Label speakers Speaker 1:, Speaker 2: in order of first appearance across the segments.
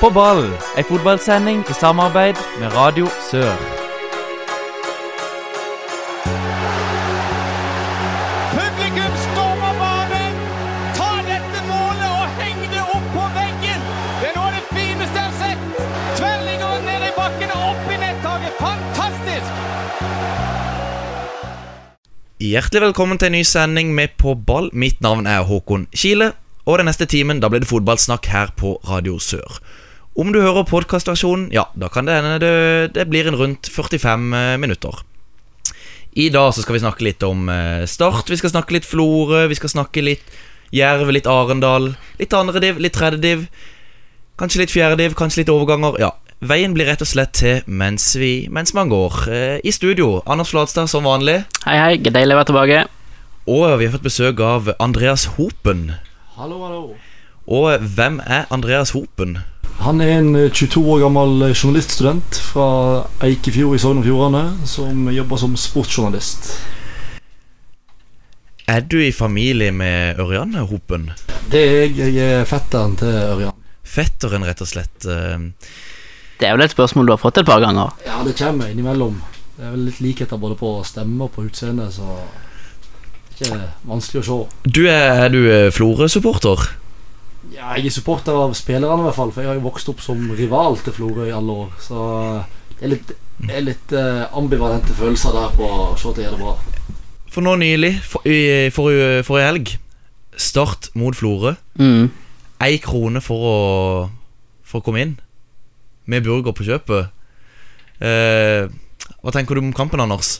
Speaker 1: På ball, ei fotballsending i samarbeid med Radio Sør.
Speaker 2: Publikum stormer banen! Ta dette målet og heng det opp på veggen! Det er noe av det fineste jeg har sett! Tverrliggeren ned i bakken og opp i nettaket! Fantastisk!
Speaker 3: Hjertelig velkommen til en ny sending med På ball. Mitt navn er Håkon Kile. Og den neste timen da blir det fotballsnakk her på Radio Sør. Om du hører podkastversjonen, ja, da kan det hende det, det blir en rundt 45 minutter. I dag så skal vi snakke litt om eh, Start, vi skal snakke litt Florø, vi skal snakke litt Jerv, litt Arendal. Litt andre div, litt tredje div. Kanskje litt fjerde div, kanskje litt overganger. Ja, Veien blir rett og slett til mens, vi, mens man går. Eh, I studio, Anders Flatstad som vanlig.
Speaker 4: Hei, hei. Deilig å være tilbake.
Speaker 3: Og vi har fått besøk av Andreas Hopen.
Speaker 5: Hallo, hallo.
Speaker 3: Og hvem er Andreas Hopen?
Speaker 5: Han er en eh, 22 år gammel eh, journaliststudent fra Eikefjord i Sogn og Fjordane, som jobber som sportsjournalist.
Speaker 3: Er du i familie med Ørjane Hopen?
Speaker 5: Det er jeg. Jeg er fetteren til Ørjan.
Speaker 3: Fetteren, rett og slett. eh,
Speaker 4: Det er vel et spørsmål du har fått et par ganger.
Speaker 5: Ja, det kommer innimellom. Det er vel litt likheter både på stemme og på utseende, så det er ikke vanskelig å se.
Speaker 3: Du er, er du eh, Florø-supporter?
Speaker 5: Ja, jeg er supporter av spillerne, i hvert fall, for jeg har jo vokst opp som rival til Florø i alle år. Så det er litt, det er litt eh, ambivalente følelser der på å se at jeg gjør det bra.
Speaker 3: For nå nylig, for, i, forrige- forrige helg, Start mot Florø.
Speaker 4: Mm.
Speaker 3: Ei krone for å, for å komme inn, med burger på kjøpet. Eh, hva tenker du om kampen, Anders?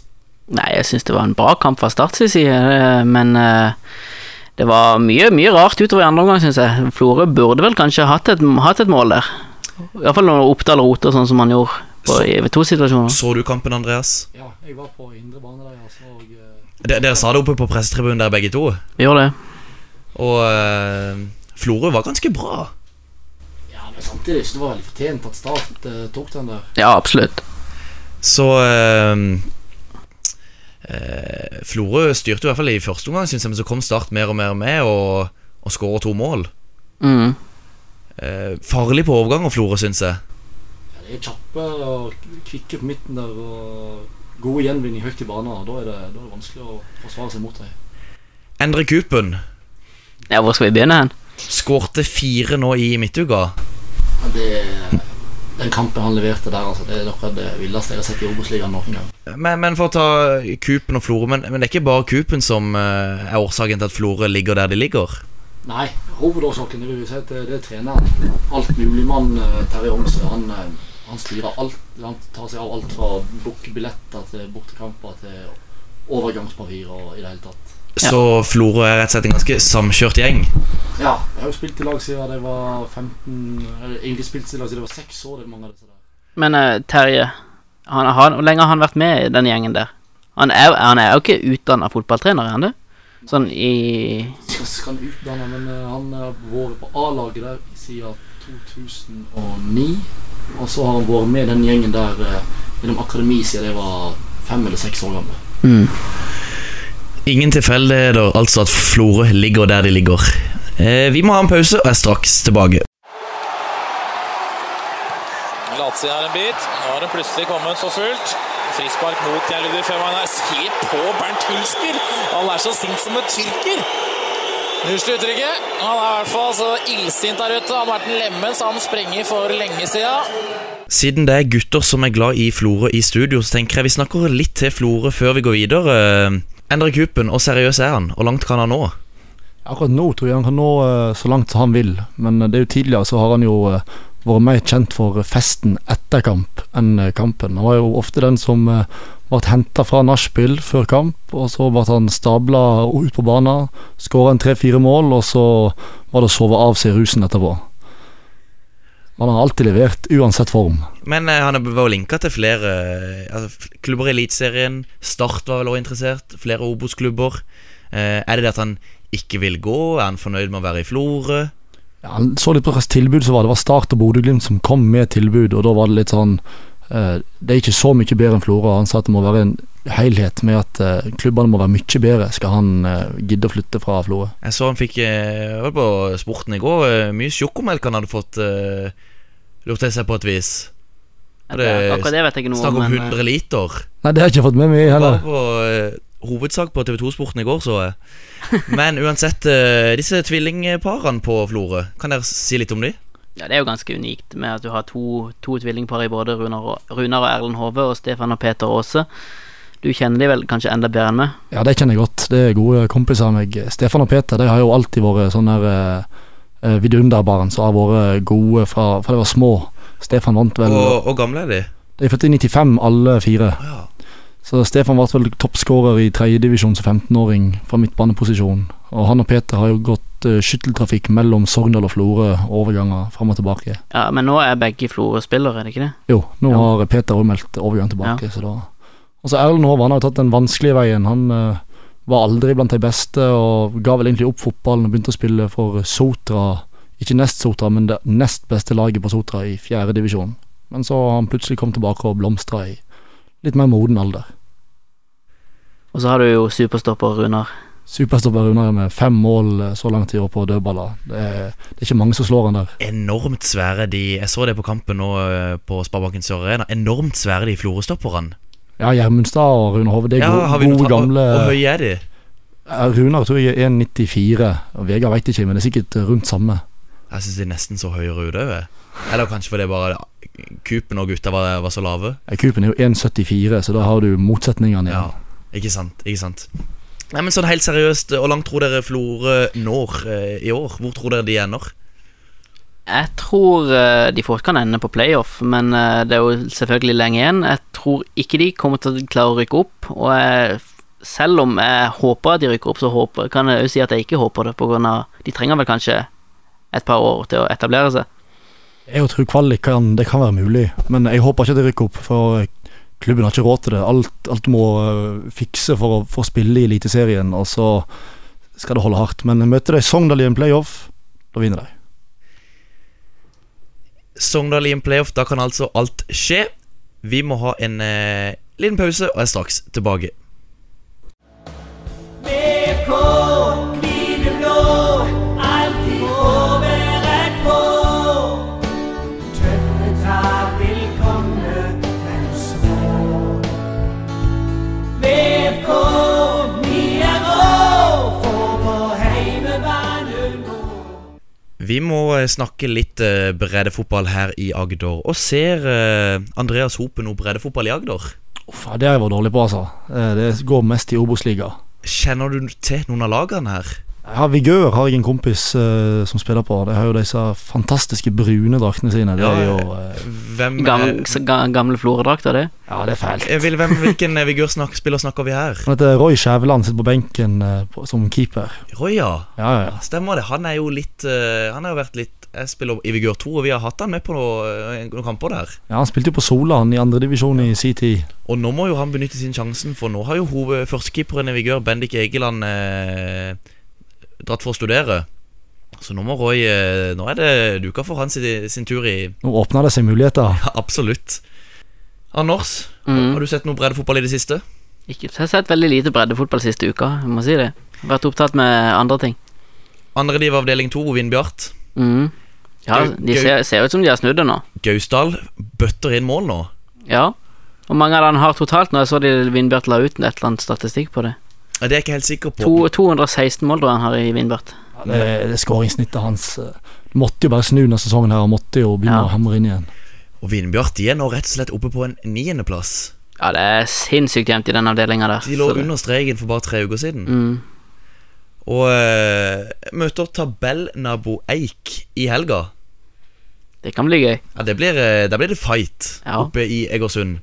Speaker 4: Nei, jeg syns det var en bra kamp fra Start sin side, eh, men eh, det var mye mye rart utover i andre omgang, syns jeg. Florø burde vel kanskje hatt et, hatt et mål der. Iallfall når Oppdal roter sånn som han gjorde på, i to situasjoner.
Speaker 3: Så du kampen, Andreas?
Speaker 5: Ja, jeg var på indre bane der, altså. Og, eh,
Speaker 3: De, dere sa det oppe på pressetribunen, der begge to.
Speaker 4: Vi gjorde det.
Speaker 3: Og eh, Florø var ganske bra.
Speaker 5: Ja, men samtidig så det var veldig fortjent at Start eh, tok den der.
Speaker 4: Ja, absolutt.
Speaker 3: Så eh, eh, Florø styrte i hvert fall i første omgang, synes jeg, men så kom Start mer og mer med og, og skåra to mål.
Speaker 4: Mm.
Speaker 3: Eh, farlig på overgang av Florø, synes jeg.
Speaker 5: Ja, de er kjappe og kvikke på midten der og gode gjenvinning høyt i banen. og Da er det, da er det vanskelig å forsvare seg mot dem.
Speaker 3: Endre Kupen
Speaker 4: Ja, hvor skal vi begynne hen?
Speaker 3: skårte fire nå i midtuka.
Speaker 5: Men det, den kampen han leverte der, altså, det er noe av det villeste jeg har sett i Obos-ligaen noen gang.
Speaker 3: Men, men for å ta Kupen og Florø Men, men det er ikke bare Kupen som eh, er årsaken til at Florø ligger der de ligger.
Speaker 5: Nei, hovedårsaken det vil vi si, det, det er treneren. Altmuligmann eh, Terje Omsø. Han, eh, han styrer alt. Han tar seg av alt fra bookbilletter til bortekamper til overgangspapirer og i det hele tatt.
Speaker 4: Ja.
Speaker 3: Så Florø er rett og slett en ganske samkjørt gjeng.
Speaker 5: Ja, jeg har jo spilt i lag siden jeg var 15 eller Egentlig spilt i lag siden jeg var 6 år. Det er mange av disse der.
Speaker 4: Men eh, Terje, han, han, hvor lenge har han vært med i den gjengen der? Han er, han er jo ikke utdanna fotballtrener, er han det? Sånn i
Speaker 5: Skal, skal han utdanne, men eh, han har vært på A-laget der siden 2009. Og så har han vært med den gjengen der eh, gjennom akademi siden jeg var fem eller seks år gammel.
Speaker 3: Ingen tilfeldigheter, altså at Florø ligger der de ligger. Eh, vi må ha en pause, og er straks tilbake.
Speaker 6: Latsi er en bit. Nå har den plutselig kommet for fullt. Frispark mot Gjerdudi Femaner. Se på Bernt Hulsker! Han er så sint som en tyrker! Nyeste uttrykket. Han er i hvert fall så illsint der ute. Han har vært en lemen, så han sprenger for lenge siden.
Speaker 3: Siden det er gutter som er glad i Florø i studio, så tenker jeg vi snakker litt til Florø før vi går videre. Eh, Endre Kupen, hvor seriøs er han? Hvor langt kan han nå?
Speaker 5: Akkurat nå tror jeg han kan nå eh, så langt som han vil, men eh, det er jo tidligere så har han jo eh, vært mer kjent for festen etter kamp enn eh, kampen. Han var jo ofte den som eh, ble henta fra nachspiel før kamp, og så ble han stabla ut på banen, skåra en tre-fire mål, og så var det å sove av seg rusen etterpå. Men han har alltid levert, uansett form.
Speaker 3: Men eh, han er- var jo linka til flere eh, altså, f- klubber i Eliteserien. Start var vel også interessert. Flere Obos-klubber. Eh, er det det at han ikke vil gå? Er han fornøyd med å være i Florø?
Speaker 5: Ja, han så litt på hva slags tilbud som var. Det var Start og Bodø-Glimt som kom med tilbud, og da var det litt sånn eh, Det er ikke så mye bedre enn Florø. Han sa at det må være en helhet med at eh, klubbene må være mye bedre, skal han eh, gidde å flytte fra Florø.
Speaker 3: Jeg så han fikk eh, jeg var på Sporten i går. eh, Mye sjokomelk han hadde fått eh, lurte jeg seg på et vis. Og
Speaker 4: Det, akkurat det vet jeg ikke noe
Speaker 3: snakk om
Speaker 4: men, eh,
Speaker 3: 100 liter.
Speaker 5: Nei, det har jeg ikke fått med meg
Speaker 3: Bare
Speaker 5: heller.
Speaker 3: på eh, hovedsak på TV2-sporten i går, så jeg. Men uansett, eh, disse tvillingparene på Florø, kan dere si litt om de?
Speaker 4: eh, Ja, Det er jo ganske unikt med at du har to, to tvillingpar i både Runar og, Runar og Erlend Hove og Stefan og Peter Aase. Du kjenner de vel kanskje enda bedre enn meg.
Speaker 5: Ja, det kjenner jeg godt. Det er gode kompiser av meg. Stefan og Peter de har jo alltid vært sånne der, eh, vidunderbarn som har vært gode fra, fra de var små. Stefan vant vel
Speaker 3: Og, og gamle er de?
Speaker 5: De er født i 95, alle fire.
Speaker 3: Å ja.
Speaker 5: Så Stefan ble vel toppskårer i tredjedivisjon som 15-åring fra midtbaneposisjon. Og han og Peter har jo gått eh, skytteltrafikk mellom Sogndal og Florø, overganger fram og tilbake.
Speaker 4: Ja, Men nå er begge Florø-spillere, er det ikke det?
Speaker 5: Jo, nå
Speaker 4: Ja.
Speaker 5: har Peter òg meldt overgang tilbake, så da Og så Erlend Hove, han har jo tatt den vanskelige veien. Han eh, var aldri blant de beste, og ga vel egentlig opp fotballen og begynte å spille for Sotra. Ikke nest Sotra, men det nest beste laget på Sotra i fjerde divisjon. Men så har han plutselig kommet tilbake og blomstra i litt mer moden alder.
Speaker 4: Og så har du jo superstopper Runar.
Speaker 5: Superstopper Runar med fem mål eh, så langt i år på dødballer. Det er, det er ikke mange som slår han der.
Speaker 3: Enormt svære de Jeg så det på kampen nå eh, på Sparebanken Sør Arena. Enormt svære de Florø-stopperne.
Speaker 5: Ja, Gjermundstad og Rune Hove, det er
Speaker 3: Ja,
Speaker 5: gode,
Speaker 3: har vi noe
Speaker 5: gode
Speaker 3: ta-
Speaker 5: gamle
Speaker 3: Og, og høye er de?
Speaker 5: Ja, Eh, Runar tror jeg er 1,94. og Vegard veit ikke, men det er sikkert eh, rundt samme.
Speaker 3: Jeg syns de er nesten så høyere ut òg. Eller kanskje fordi bare Kupen og gutta var, var så lave.
Speaker 5: Eh, Coopen er jo 1,74, så da har du motsetningene
Speaker 3: Ja,
Speaker 5: igjen.
Speaker 3: ikke sant, ikke sant Nei, men sånn helt seriøst, hvor langt tror dere Florø når eh, i år? Hvor tror dere de ender?
Speaker 4: Jeg tror eh, de fort kan ende på playoff, men eh, det er jo selvfølgelig lenge igjen. Jeg tror ikke de kommer til å klare å rykke opp, og jeg, selv om jeg håper at de rykker opp, så håper, kan jeg òg si at jeg ikke håper det, på grunn av De trenger vel kanskje et par år til å etablere seg.
Speaker 5: Jeg tror kvalik kan, det kan være mulig, men jeg håper ikke det rykker opp. For eh, klubben har ikke råd til det. Alt, alt du må eh, fikse for å få spille i Eliteserien, og så skal det holde hardt. Men møter de Sogndal i en playoff, da vinner de.
Speaker 3: Sogndal i en playoff, da kan altså alt skje Vi må ha en eh, liten pause, og jeg er straks tilbake Vi må eh, snakke litt eh, breddefotball her i Agder Og ser eh, Andreas Hope noe breddefotball i Agder?
Speaker 5: Uff, ja, det har jeg vært dårlig på, altså. Eh, Det går mest i Obos-liga.
Speaker 3: Kjenner du til noen av lagene her?
Speaker 5: Ja, Vigør har jeg en kompis eh, som spiller på. De har jo disse fantastiske brune draktene sine. Det
Speaker 3: Ja,
Speaker 5: er jo
Speaker 3: ja.
Speaker 5: eh,
Speaker 3: Hvem,
Speaker 4: Gamle,
Speaker 3: eh,
Speaker 4: ga- gamle Florø-drakter, det.
Speaker 5: Ja, det er fælt.
Speaker 3: jeg vil, hvem, hvilken eh, vigørspiller snakker vi her?
Speaker 5: Han heter Roy Skjæveland, sitter på benken eh, på, som keeper.
Speaker 3: Røya
Speaker 5: Ja, ja, ja.
Speaker 3: Stemmer det. Han er jo litt eh, Han har jo vært litt Jeg spiller i Vigør 2, og vi har hatt han med på noe- eh, noen kamper der.
Speaker 5: ja Han spilte jo på Sola han i andredivisjon i sin tid.
Speaker 3: Og nå må jo han benytte sin sjansen, for nå har jo hoved- førstekeeperen i Vigør, Bendik Egeland, eh, dratt for å studere. Så nå må Roy eh, Nå er det duka for han sin, sin tur i
Speaker 5: Nå åpna det seg muligheter.
Speaker 3: Absolutt. Anders,
Speaker 4: Mm.
Speaker 3: har du sett noe breddefotball i det siste?
Speaker 4: Ikke, jeg har sett veldig lite breddefotball siste uka, jeg må si det. Jeg har vært opptatt med andre ting.
Speaker 3: Andre div avdeling 2, Vindbjart.
Speaker 4: Mm. Ja,
Speaker 3: Gau-
Speaker 4: de
Speaker 3: Gau-
Speaker 4: ser, ser ut som de har snudd det nå.
Speaker 3: Gausdal bøtter inn mål nå.
Speaker 4: Ja. Og mange av dem har totalt nå. Jeg så de Vindbjart la ut et eller annet statistikk på det.
Speaker 3: Ja, Det er jeg ikke helt sikker på.
Speaker 4: To, 216 mål tror jeg han har i Vindbjart.
Speaker 5: Ja, det, Eh, det skåringssnittet hans eh, Måtte jo bare snu denne sesongen her og måtte jo begynne
Speaker 4: Ja.
Speaker 5: å hamre inn igjen.
Speaker 3: Og Vindbjart de er nå rett og slett oppe på en niendeplass.
Speaker 4: Ja, det er sinnssykt jevnt i den avdelinga der.
Speaker 3: De lå
Speaker 4: Så det-
Speaker 3: under streken for bare tre uker siden.
Speaker 4: Mm.
Speaker 3: Og eh, møter tabellnabo Eik i helga.
Speaker 4: Det kan bli gøy.
Speaker 3: Ja, det blir, eh, Der blir det fight
Speaker 4: Ja.
Speaker 3: oppe i Egersund.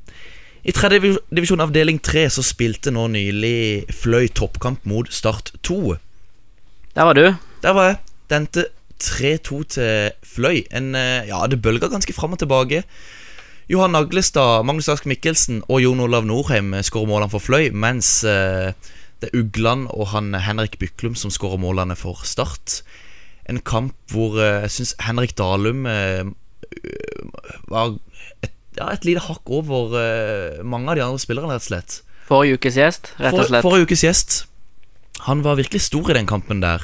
Speaker 3: I tredje divi- divisjon avdeling tre så spilte nå nylig Fløy toppkamp mot Start 2.
Speaker 4: Der var du.
Speaker 3: Der var jeg. Det endte 3-2 til Fløy. En, eh, ja, det bølga ganske fram og tilbake. Johan Naglestad, Magnus Ask Mikkelsen og Jon Olav Norheim eh, skårer målene for Fløy, mens eh, det er Ugland og han eh, Henrik Byklum som skårer målene for Start. En kamp hvor eh, jeg syns Henrik Dalum eh, var et, ja, et lite hakk over eh, mange av de andre spillerne, rett og slett.
Speaker 4: Forrige ukes gjest, rett og
Speaker 3: For-
Speaker 4: slett.
Speaker 3: Forrige ukes gjest Han var virkelig stor i den kampen der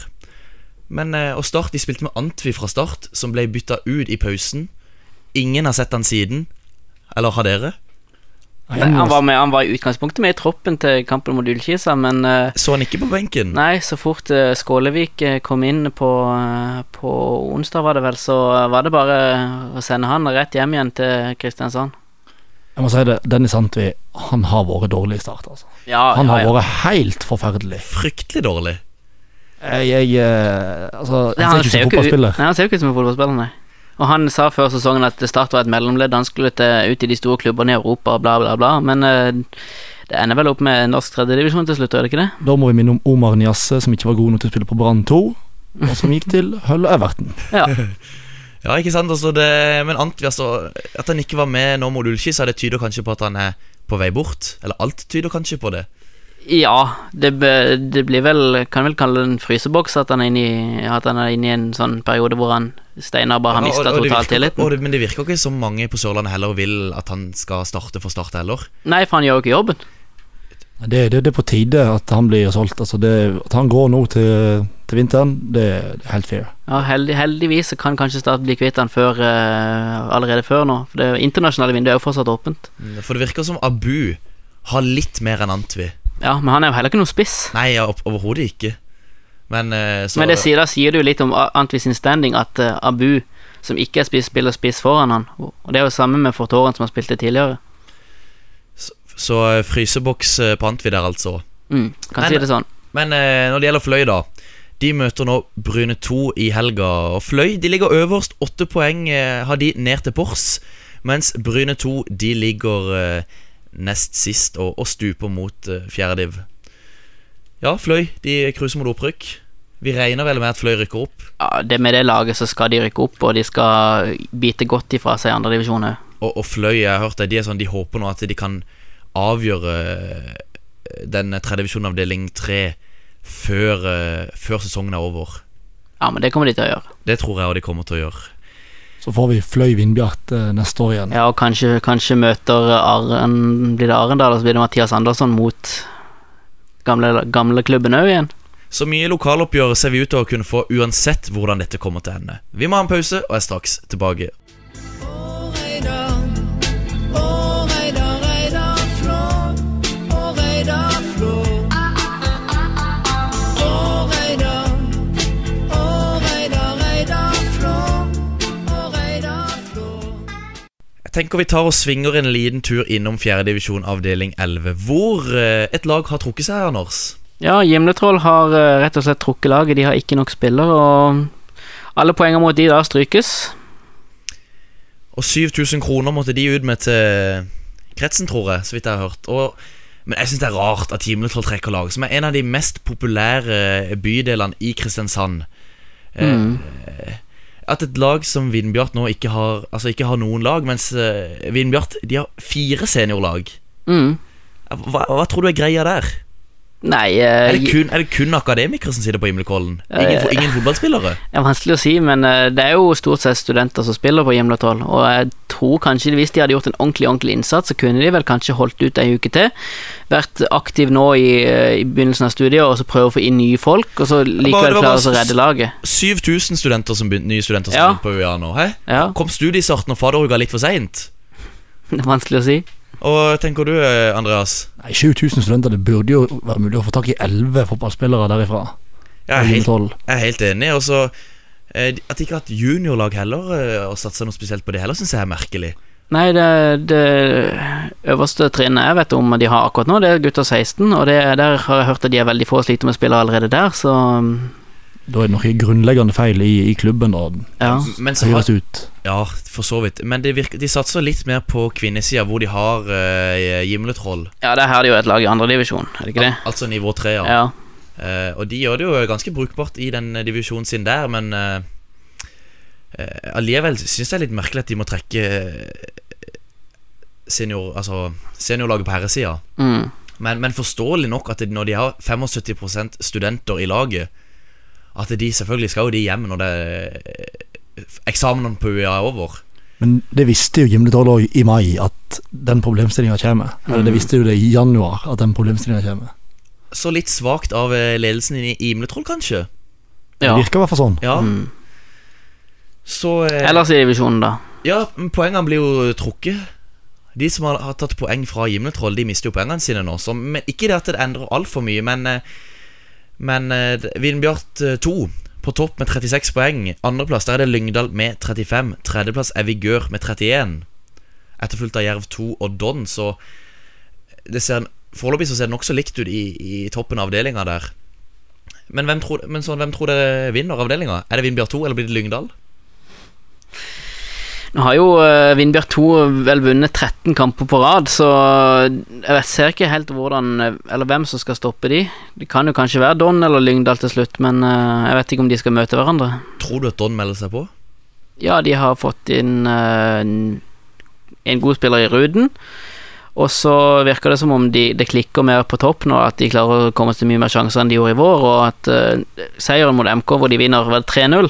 Speaker 3: Men eh, og start, de spilte med Antvi fra start Som ble bytta ut i pausen Ingen har sett han siden. Eller har dere?
Speaker 4: Nei, han, var med, han var i utgangspunktet med i troppen til kampen mot Ullkisa, men eh,
Speaker 3: Så han ikke på benken?
Speaker 4: nei, så fort eh, Skålevik eh, kom inn på, eh, på onsdag, var det vel, så eh, var det bare eh, å sende han rett hjem igjen til Kristiansand.
Speaker 5: Jeg må si det, Dennis Sandtvi, han har vært dårlig i start, altså.
Speaker 4: Ja,
Speaker 5: Han har
Speaker 4: ja, ja.
Speaker 5: vært helt forferdelig.
Speaker 3: Fryktelig dårlig.
Speaker 5: Jeg, jeg eh, Altså,
Speaker 4: Nei,
Speaker 5: han ser ikke ut som fotballspiller.
Speaker 4: nei, han ser jo ikke ut som en fotballspiller, nei. Og han sa før sesongen at Start var et mellomledd, han skulle til, ut i de store klubbene i Europa, bla, bla, bla, men eh, det ender vel opp med norsk tredjedivisjon til slutt, gjør det ikke det?
Speaker 5: Da må vi minne om Omar Niasse, som ikke var god nok til å spille på Brann 2, og som gikk til Hølle Everton.
Speaker 4: Ja.
Speaker 3: Ja, ikke sant? Altså det, men Antwi, altså, at han ikke var med nå mot Ullskisa, det tyder kanskje på at han er på vei bort. Eller alt tyder kanskje på det.
Speaker 4: Ja, det, be- det blir vel Kan vel kalle det en fryseboks at han er inne i, at han er inne i en sånn periode hvor han Steinar bare
Speaker 3: Ja,
Speaker 4: har
Speaker 3: og-
Speaker 4: mista
Speaker 3: og det
Speaker 4: totalt
Speaker 3: virker- og
Speaker 4: tilliten.
Speaker 3: det- Men det virker ikke som mange på Sørlandet heller vil at han skal starte for Start heller.
Speaker 4: Nei, for han gjør jo ikke jobben.
Speaker 5: Det, det, det er på tide at han blir solgt. Altså det, at han går nå til, til vinteren, det, det er helt fair.
Speaker 4: Ja, heldig, Heldigvis så kan kanskje Start bli kvitt han før, eh, allerede før nå. For det internasjonale vinduet er jo fortsatt åpent.
Speaker 3: For det virker som Abu har litt mer enn Antwi.
Speaker 4: Ja, Men han er jo heller ikke noen spiss.
Speaker 3: Nei, ja, opp- overhodet ikke. Men eh, så
Speaker 4: Men det sier, da sier det jo litt om A- Antwi sin standing at eh, Abu, som ikke er spiss, spiller spiss foran han. Og det er jo samme med Fortoren som han spilte tidligere.
Speaker 3: Så eh, fryseboks eh, på Antwi der, altså.
Speaker 4: Mm, kan
Speaker 3: Men-
Speaker 4: si det sånn.
Speaker 3: Men eh, når det gjelder Fløy, da. De møter nå Bryne 2 i helga. Og Fløy de ligger øverst. Åtte poeng eh, har de ned til Pors. Mens Bryne 2 de ligger eh, nest sist og, og stuper mot eh, fjerdediv. Ja, Fløy de cruiser mot opprykk. Vi regner vel med at Fløy rykker opp.
Speaker 4: ja, det med det laget så skal de rykke opp, og de skal bite godt ifra seg i andredivisjon òg.
Speaker 3: Og, og Fløy jeg har hørt det, de er sånn, de håper nå at de kan avgjøre eh, den tredje divisjonen avdeling 3 før, eh, før sesongen er over.
Speaker 4: Ja, men det kommer de til å gjøre.
Speaker 3: Det tror jeg også de kommer til å gjøre.
Speaker 5: Så får vi Fløy Vindbjart eh, neste år igjen.
Speaker 4: Ja, og kanskje, kanskje møter Arren, blir det Arendal, og så blir det Mathias Andersson mot gamle, gamle klubben òg igjen.
Speaker 3: Så mye lokaloppgjør ser vi ut til å kunne få uansett hvordan dette kommer til å ende. Vi må ha en pause og er straks tilbake. Jeg tenker vi tar og svinger en liten tur innom 4. divisjon avdeling 11, hvor eh, et lag har trukket seg, Anders.
Speaker 4: Ja, Gimletroll har eh, rett og slett trukket laget. De har ikke nok spillere, og alle poenger mot de da strykes.
Speaker 3: Og 7000 kroner måtte de ut med til kretsen, tror jeg, så vidt jeg har hørt. Og, men jeg syns det er rart at Himletroll trekker lag, som er en av de mest populære eh, bydelene i Kristiansand. Eh,
Speaker 4: Mm.
Speaker 3: At et lag som Vindbjart nå ikke har, altså ikke har noen lag, mens eh, Vindbjart de har fire seniorlag.
Speaker 4: Mm.
Speaker 3: Hva, hva tror du er greia der?
Speaker 4: Nei eh,
Speaker 3: Er det kun, er det kun akademikere som sitter på Himmelkollen? Ingen, fo- ingen fotballspillere?
Speaker 4: Det er vanskelig å si, men eh, det er jo stort sett studenter som spiller på Gimletroll, og jeg tror kanskje de- hvis de hadde gjort en ordentlig ordentlig innsats, så kunne de vel kanskje holdt ut ei uke til. Vært aktiv nå i, eh, i begynnelsen av studiet, og så prøve å få inn nye folk, og så
Speaker 3: det var
Speaker 4: likevel klare
Speaker 3: bare
Speaker 4: å
Speaker 3: s-
Speaker 4: redde laget.
Speaker 3: 7000 studenter som begynte, nye studenter som
Speaker 4: Ja.
Speaker 3: begynte på UiA nå. Hæ?
Speaker 4: Ja,
Speaker 3: Kom studiestarten og fadderuka litt for seint?
Speaker 4: det er vanskelig å si.
Speaker 3: Og tenker du, eh, Andreas?
Speaker 5: Nei, 7000 studenter, det burde jo være mulig å få tak i 11 fotballspillere derifra.
Speaker 3: Jeg er helt,
Speaker 5: 12.
Speaker 3: jeg er helt enig. Og så eh, de- At de ikke har hatt juniorlag heller, eh, og satsa noe spesielt på det heller, syns jeg er merkelig.
Speaker 4: Nei, det, det øverste trinnet jeg vet om de har akkurat nå, det er gutter 16, og det, der har jeg hørt at de er veldig få og sliter med å spille allerede der, så mm,
Speaker 5: Da er det noe grunnleggende feil i, i klubben, da.
Speaker 4: ja.
Speaker 3: Men så har,
Speaker 5: Høres ut.
Speaker 3: Ja, for så vidt. Men det virker, de satser litt mer på kvinnesida, hvor de har uh, Gimletroll.
Speaker 4: Ja, der har de jo et lag i andredivisjon, er det ikke det?
Speaker 3: Al altså nivå tre, ja.
Speaker 4: Ja.
Speaker 3: Eh, og de gjør det jo ganske brukbart i den eh, divisjonen sin der, men eh, eh, allikevel syns jeg det er litt merkelig at de må trekke eh, senior, altså, seniorlaget på herresida.
Speaker 4: Mm.
Speaker 3: Men, men forståelig nok at når de har 75 studenter i laget, at de selvfølgelig skal jo de hjem når det er eh, eksamen på UiA er over.
Speaker 5: Men det visste jo Gimletroll òg i mai, at den problemstillinga kommer. Eller det visste jo det i januar, at den problemstillinga kommer.
Speaker 3: Så litt svakt av eh, ledelsen i Imletroll, kanskje?
Speaker 5: Det
Speaker 4: ja.
Speaker 5: virker i hvert fall sånn.
Speaker 3: Ja. Så eh,
Speaker 4: Ellers i divisjonen, da.
Speaker 3: Ja, men poengene blir jo trukket. De som har, har tatt poeng fra Gimletroll, de mister jo poengene sine nå. Så, men ikke det at det endrer altfor mye, men, eh, men eh, det- Vindbjart 2 på topp med 36 poeng. Andreplass der er det Lyngdal med 35. Tredjeplass er Vigør med 31. Etterfulgt av Jerv 2 og Don, så det ser Foreløpig så ser det nokså likt ut i, i toppen av avdelinga der. Men, hvem tror, men sånn, hvem tror dere vinner avdelinga? Er det Vindbjart 2, eller blir det Lyngdal?
Speaker 4: Nå har jo uh, Vindbjørn 2 vel vunnet 13 kamper på rad, så jeg vet, ser ikke helt hvordan eh, Eller hvem som skal stoppe de. Det kan jo kanskje være Don eller Lyngdal til slutt, men eh, jeg vet ikke om de skal møte hverandre.
Speaker 3: Tror du at Don melder seg på?
Speaker 4: Ja, de har fått inn eh, en- en god spiller i Ruden. Og så virker det som om de, det klikker mer på topp nå, at de klarer å komme til mye mer sjanser enn de gjorde i vår, og at eh, seieren mot MK, hvor de vinner vel 3-0,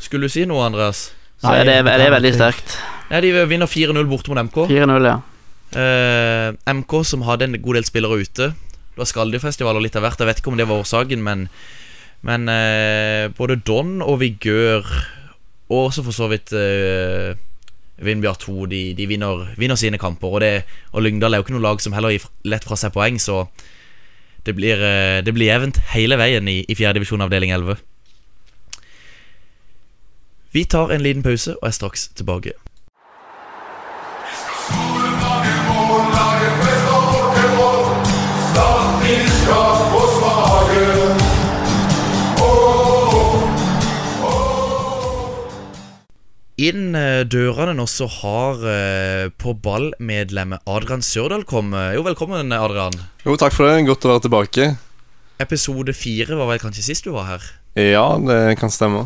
Speaker 3: Skulle du si noe, Andreas?
Speaker 4: så
Speaker 5: Nei,
Speaker 4: er det, er det
Speaker 5: det er
Speaker 4: veldig
Speaker 5: ikke-
Speaker 4: sterkt.
Speaker 3: Nei, De vinner 4-0 borte mot MK.
Speaker 4: 4-0, ja.
Speaker 3: Eh, MK som hadde en god del spillere ute. Det var Skalldyrfestival og litt av hvert. Jeg vet ikke om det var årsaken, men, men eh, både Don og Vigør, og også for så vidt uh, Vindbjart 2, de, de vinner, vinner sine kamper. Og, det, og Lyngdal er jo ikke noe lag som heller gir lett fra seg poeng, så det blir, eh, det blir jevnt hele veien i, i 4. divisjon avdeling 11. Vi tar en liten pause og er straks tilbake. Inn eh, dørene nå så har eh, på ball-medlemmet Adrian Sørdal kommet. Jo, velkommen, Adrian.
Speaker 7: Jo, takk for det. Godt å være tilbake.
Speaker 3: Episode fire var vel kanskje sist du var her.
Speaker 7: Ja, det kan stemme.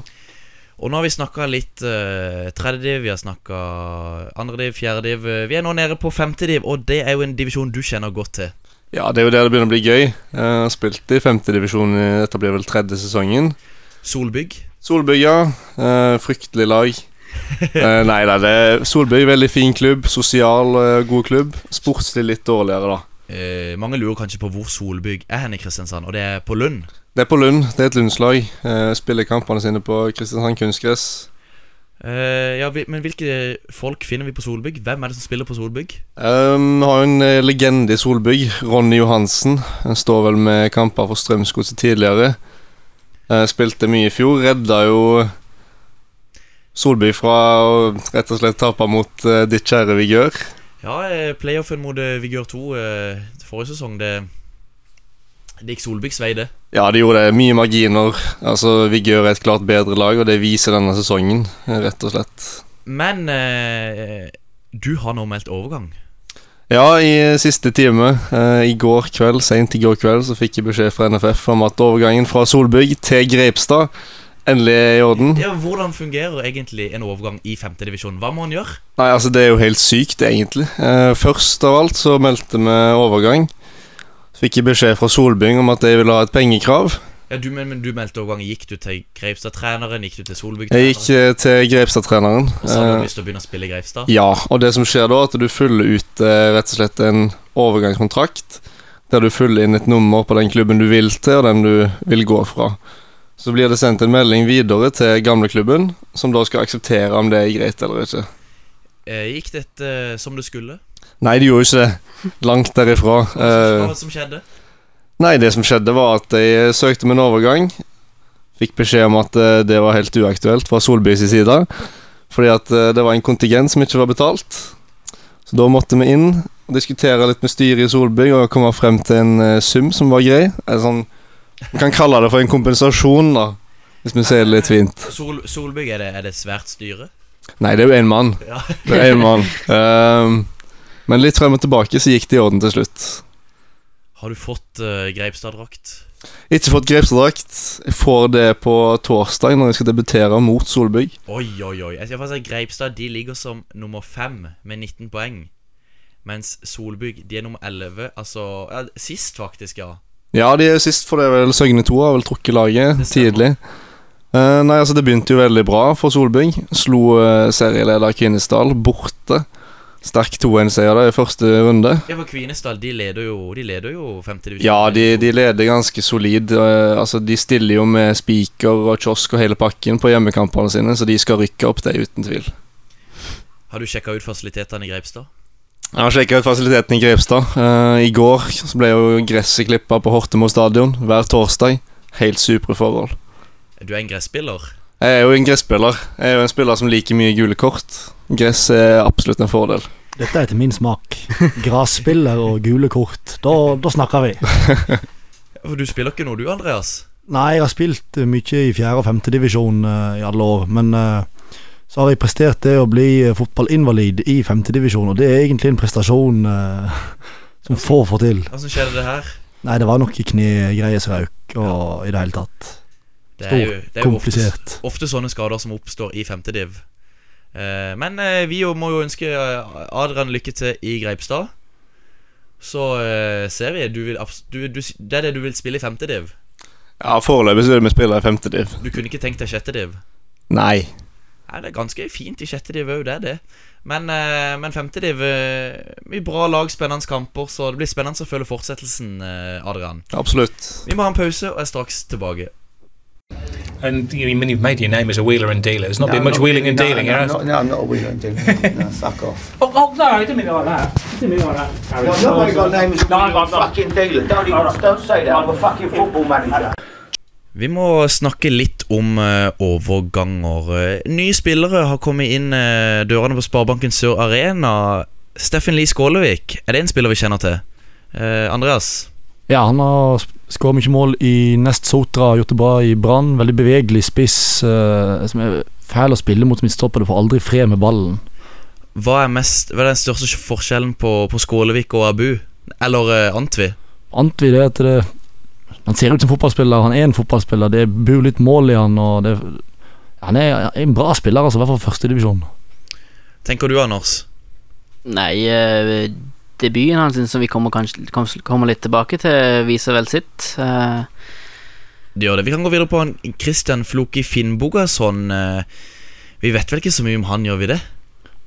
Speaker 3: Og nå har vi snakka litt eh, tredje div, vi har snakka andre div, fjerde div. Eh, Vi er nå nede på femte div, og det er jo en divisjon du kjenner godt til.
Speaker 7: Ja, det er jo der det begynner å bli gøy. Jeg har spilt i femtedivisjon i dette blir vel tredje sesongen.
Speaker 3: Solbygg.
Speaker 7: Solbygga, eh, fryktelig lag. Eh, nei da, det er Solbygg veldig fin klubb. Sosial, eh, god klubb. Sportslig litt dårligere, da.
Speaker 3: Eh, mange lurer kanskje på hvor Solbygg er hen i Kristiansand, og det er på Lund.
Speaker 7: Det er på Lund. Det er et Lundslag. Eh, spiller kampene sine på Kristiansand kunstgress.
Speaker 3: Eh, ja, vi, Men hvilke folk finner vi på Solbygg? Hvem er det som spiller på Solbygg?
Speaker 7: Um, vi har jo en eh, legende i Solbygg, Ronny Johansen. Han står vel med kamper for Strømsgodset tidligere. Eh, spilte mye i fjor, redda jo Solbygg fra å rett og slett tape mot eh, ditt kjære Vigør.
Speaker 3: Ja, eh, playoffen mot eh, Vigør 2 eh, forrige sesong, det, det gikk Solbyggs vei, det.
Speaker 7: Ja, de gjorde det. Mye marginer. Altså, Vigør er et klart bedre lag, og det viser denne sesongen, eh, rett og slett.
Speaker 3: Men eh, du har nå meldt overgang.
Speaker 7: Ja, i eh, siste time eh, i går kveld, sent i går kveld, så fikk jeg beskjed fra NFF om at overgangen fra Solbygg til Grepstad endelig er i orden.
Speaker 3: Ja, Hvordan fungerer egentlig en overgang i femtedivisjon? Hva må han gjøre?
Speaker 7: Nei, altså Det er jo helt sykt, egentlig. Eh, først av alt så meldte vi overgang. Så fikk jeg beskjed fra Solbyng om at jeg ville ha et pengekrav.
Speaker 3: Ja, du, men, men du meldte overgang. Gikk du til Greipstad-treneren? Gikk du til
Speaker 7: Jeg gikk
Speaker 3: Solbygg-treneren?
Speaker 7: eh, til Grepstad-treneren.
Speaker 3: Og sa du
Speaker 7: Eh,
Speaker 3: hadde lyst til å begynne å spille i Greipstad?
Speaker 7: ja, og det som skjer da, er at du fyller ut eh, rett og slett en overgangskontrakt. Der du fyller inn et nummer på den klubben du vil til, og den du vil gå fra. Så blir det sendt en melding videre til gamleklubben, som da skal akseptere om det er greit eller ikke.
Speaker 3: Eh, gikk dette som det skulle?
Speaker 7: Nei, de gjorde ikke det. Langt derifra.
Speaker 3: Hva var det
Speaker 7: Eh,
Speaker 3: som- hva var det som skjedde?
Speaker 7: Nei, det som skjedde var at jeg søkte om en overgang. Fikk beskjed om at eh, det var helt uaktuelt fra Solbys side. Fordi at eh, det var en kontingent som ikke var betalt. Så da måtte vi inn og diskutere litt med styret i Solby og komme frem til en eh, sum som var grei. En sånn, vi kan kalle det for en kompensasjon, da. Hvis vi sier det litt fint.
Speaker 3: Sol, Solbygg, er det, er det svært styre?
Speaker 7: Nei, det er jo én mann.
Speaker 3: Ja.
Speaker 7: Det er en mann. Ehm, men litt frem og tilbake så gikk det i orden til slutt.
Speaker 3: Har du fått eh, Greipstad-drakt?
Speaker 7: Ikke fått grepsdrakt. Jeg får det på torsdag når jeg skal debutere mot Solbygg.
Speaker 3: Oi, oi, oi. Jeg skal faktisk si Greipstad de ligger som nummer fem med 19 poeng. Mens Solbygg de er nummer 11. Altså ja, sist, faktisk, ja.
Speaker 7: Ja, de er jo sist, for det er vel Søgne 2 har vel trukket laget
Speaker 3: Det stemmer.
Speaker 7: tidlig. Eh, nei, altså Det begynte jo veldig bra for Solbygg. Slo eh, serieleder Kvinesdal borte. Sterk 2-1-seier der i første runde.
Speaker 3: Ja, for Kvinesdal de leder jo De leder jo femte divisjon.
Speaker 7: Ja, de, de leder ganske solid. eh, altså De stiller jo med spiker og kiosk og hele pakken på hjemmekampene sine, så de skal rykke opp, det er uten tvil.
Speaker 3: Har du sjekka ut fasilitetene i Greipstad?
Speaker 7: Jeg har sjekka ut fasiliteten i Grepstad. Eh, I går så ble jo gresset klippa på Hortemo stadion hver torsdag. Helt supre forhold.
Speaker 3: Du er en gresspiller.
Speaker 7: Jeg er jo en gresspiller. Jeg er jo en spiller som liker mye gule kort. Gress er absolutt en fordel.
Speaker 5: Dette er til min smak. Grasspiller og gule kort. Da, da snakker vi.
Speaker 3: For du spiller ikke noe, du, Andreas.
Speaker 5: Nei, jeg har spilt eh, mye i fjerde- og femtedivisjon i alle år, men eh, så har jeg prestert det å bli eh, fotballinvalid i femtedivisjon, og det er egentlig en prestasjon eh, som få får til.
Speaker 3: Hvordan skjedde det her?
Speaker 5: Nei, det var noe knegreier som røk, og i det hele tatt.
Speaker 3: Det
Speaker 5: Stor,
Speaker 3: det jo ofte,
Speaker 5: Komplisert.
Speaker 3: ofte sånne skader som oppstår i femte div. Eh, men eh, vi jo må jo ønske eh, Adrian lykke til i Greipstad. Så eh, ser vi. Du vil, abs- du, du, s- det er det du vil spille i femte div?
Speaker 7: Ja, Foreløpig så er det vi spiller i femte div.
Speaker 3: Du kunne ikke tenkt deg sjette div?
Speaker 7: Nei.
Speaker 3: Nei, det er ganske fint i sjette div òg, det er det. Men, eh, men femte div eh, Mye bra lag, spennende kamper, så det blir spennende å følge fortsettelsen, eh, Adrian.
Speaker 7: Absolutt.
Speaker 3: Vi må ha en pause, og er straks tilbake.
Speaker 8: And you mean you've made your name as a wheeler and dealer. There's not
Speaker 9: No,
Speaker 8: been
Speaker 9: I'm
Speaker 8: much
Speaker 9: not
Speaker 8: wheeling
Speaker 9: really-
Speaker 8: and
Speaker 9: no,
Speaker 8: dealing,
Speaker 9: no,
Speaker 8: has
Speaker 9: no,
Speaker 8: there?
Speaker 9: no, I'm not a wheeler and dealing. no, fuck off.
Speaker 8: Oh, oh, no, it didn't mean it like that. It didn't mean it like that. Harry.
Speaker 9: Well, nobody got names.
Speaker 8: No, I'm not.
Speaker 9: fucking dealer. Don't even, don't say that. I'm a fucking football manager.
Speaker 3: Vi må snakke litt om eh, overganger. Eh, nye spillere har kommet inn eh, dørene på Sparebanken Sør Arena. Steffen Lie Skålevik, er det en spiller vi kjenner til? Eh, Andreas?
Speaker 5: Ja, han har skåret mye mål i Nest Sotra, gjort det bra i Brann. Veldig bevegelig spiss, eh, som er fæl å spille mot midtstoppere, får aldri fred med ballen.
Speaker 3: Hva er, mest, hva er den største forskjellen på, på Skålevik og Abu? Eller eh, Antvi?
Speaker 5: Ante vi det at det Han ser ut som fotballspiller, han er en fotballspiller. Det bor litt mål i han, og det Han er en bra spiller, altså, i hvert fall for førstedivisjon.
Speaker 3: Tenker du, Anders?
Speaker 4: Nei, eh, debuten hans, som vi kommer, kanskje, kom- kommer litt tilbake til, viser vel sitt. Eh,
Speaker 3: Det gjør det. Vi kan gå videre på han Christian Floki Finnbogason. eh, Vi vet vel ikke så mye om han, gjør vi det?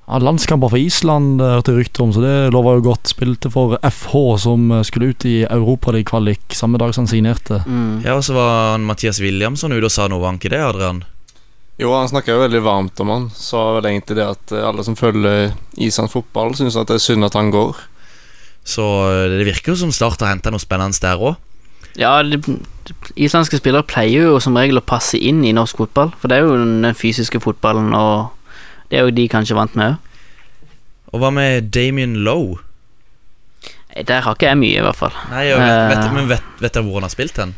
Speaker 5: Ja, landskamper for Island eh, hørte jeg rykter om, så det lover jo godt. Spilte for FH, som eh, skulle ut i Europaliga-kvalik samme dag som han signerte.
Speaker 4: mm.
Speaker 3: Ja, og så var han Mathias Williamson ute og sa noe, var han ikke det, Adrian?
Speaker 7: Jo, han snakka jo veldig varmt om han. Sa vel egentlig det at eh, alle som følger Islands fotball, syns at det er synd at han går.
Speaker 3: Så eh, det virker jo som Start har henta noe spennende der òg.
Speaker 4: Ja, de, de, islandske spillere pleier jo som regel å passe inn i norsk fotball, for det er jo den fysiske fotballen, og det er jo de kanskje vant med òg.
Speaker 3: Og hva med Damien Lowe?
Speaker 4: Eh, Der har ikke jeg mye, i hvert fall.
Speaker 3: Nei, jeg vet, vet,
Speaker 4: Eh.
Speaker 3: men vet, vet jeg hvor han har spilt hen?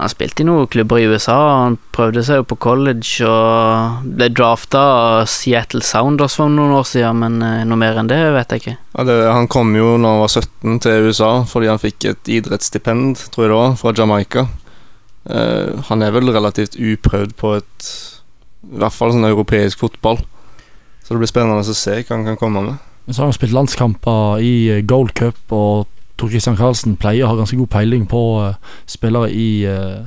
Speaker 4: Han spilte i noen klubber i USA, og han prøvde seg jo på college og ble drafta av Seattle Sounders for noen år siden, men eh, noe mer enn det vet jeg ikke.
Speaker 7: Ja, det, han kom jo når han var 17 til USA fordi han fikk et idrettsstipend, tror jeg det var, fra Jamaica. Eh, han er vel relativt uprøvd på et I hvert fall sånn europeisk fotball. Så det blir spennende å se hva han kan komme med.
Speaker 5: Men så har han spilt landskamper i eh, Gold Cup, og Tor Christian Karlsen pleier å ha ganske god peiling på eh, spillere i, eh,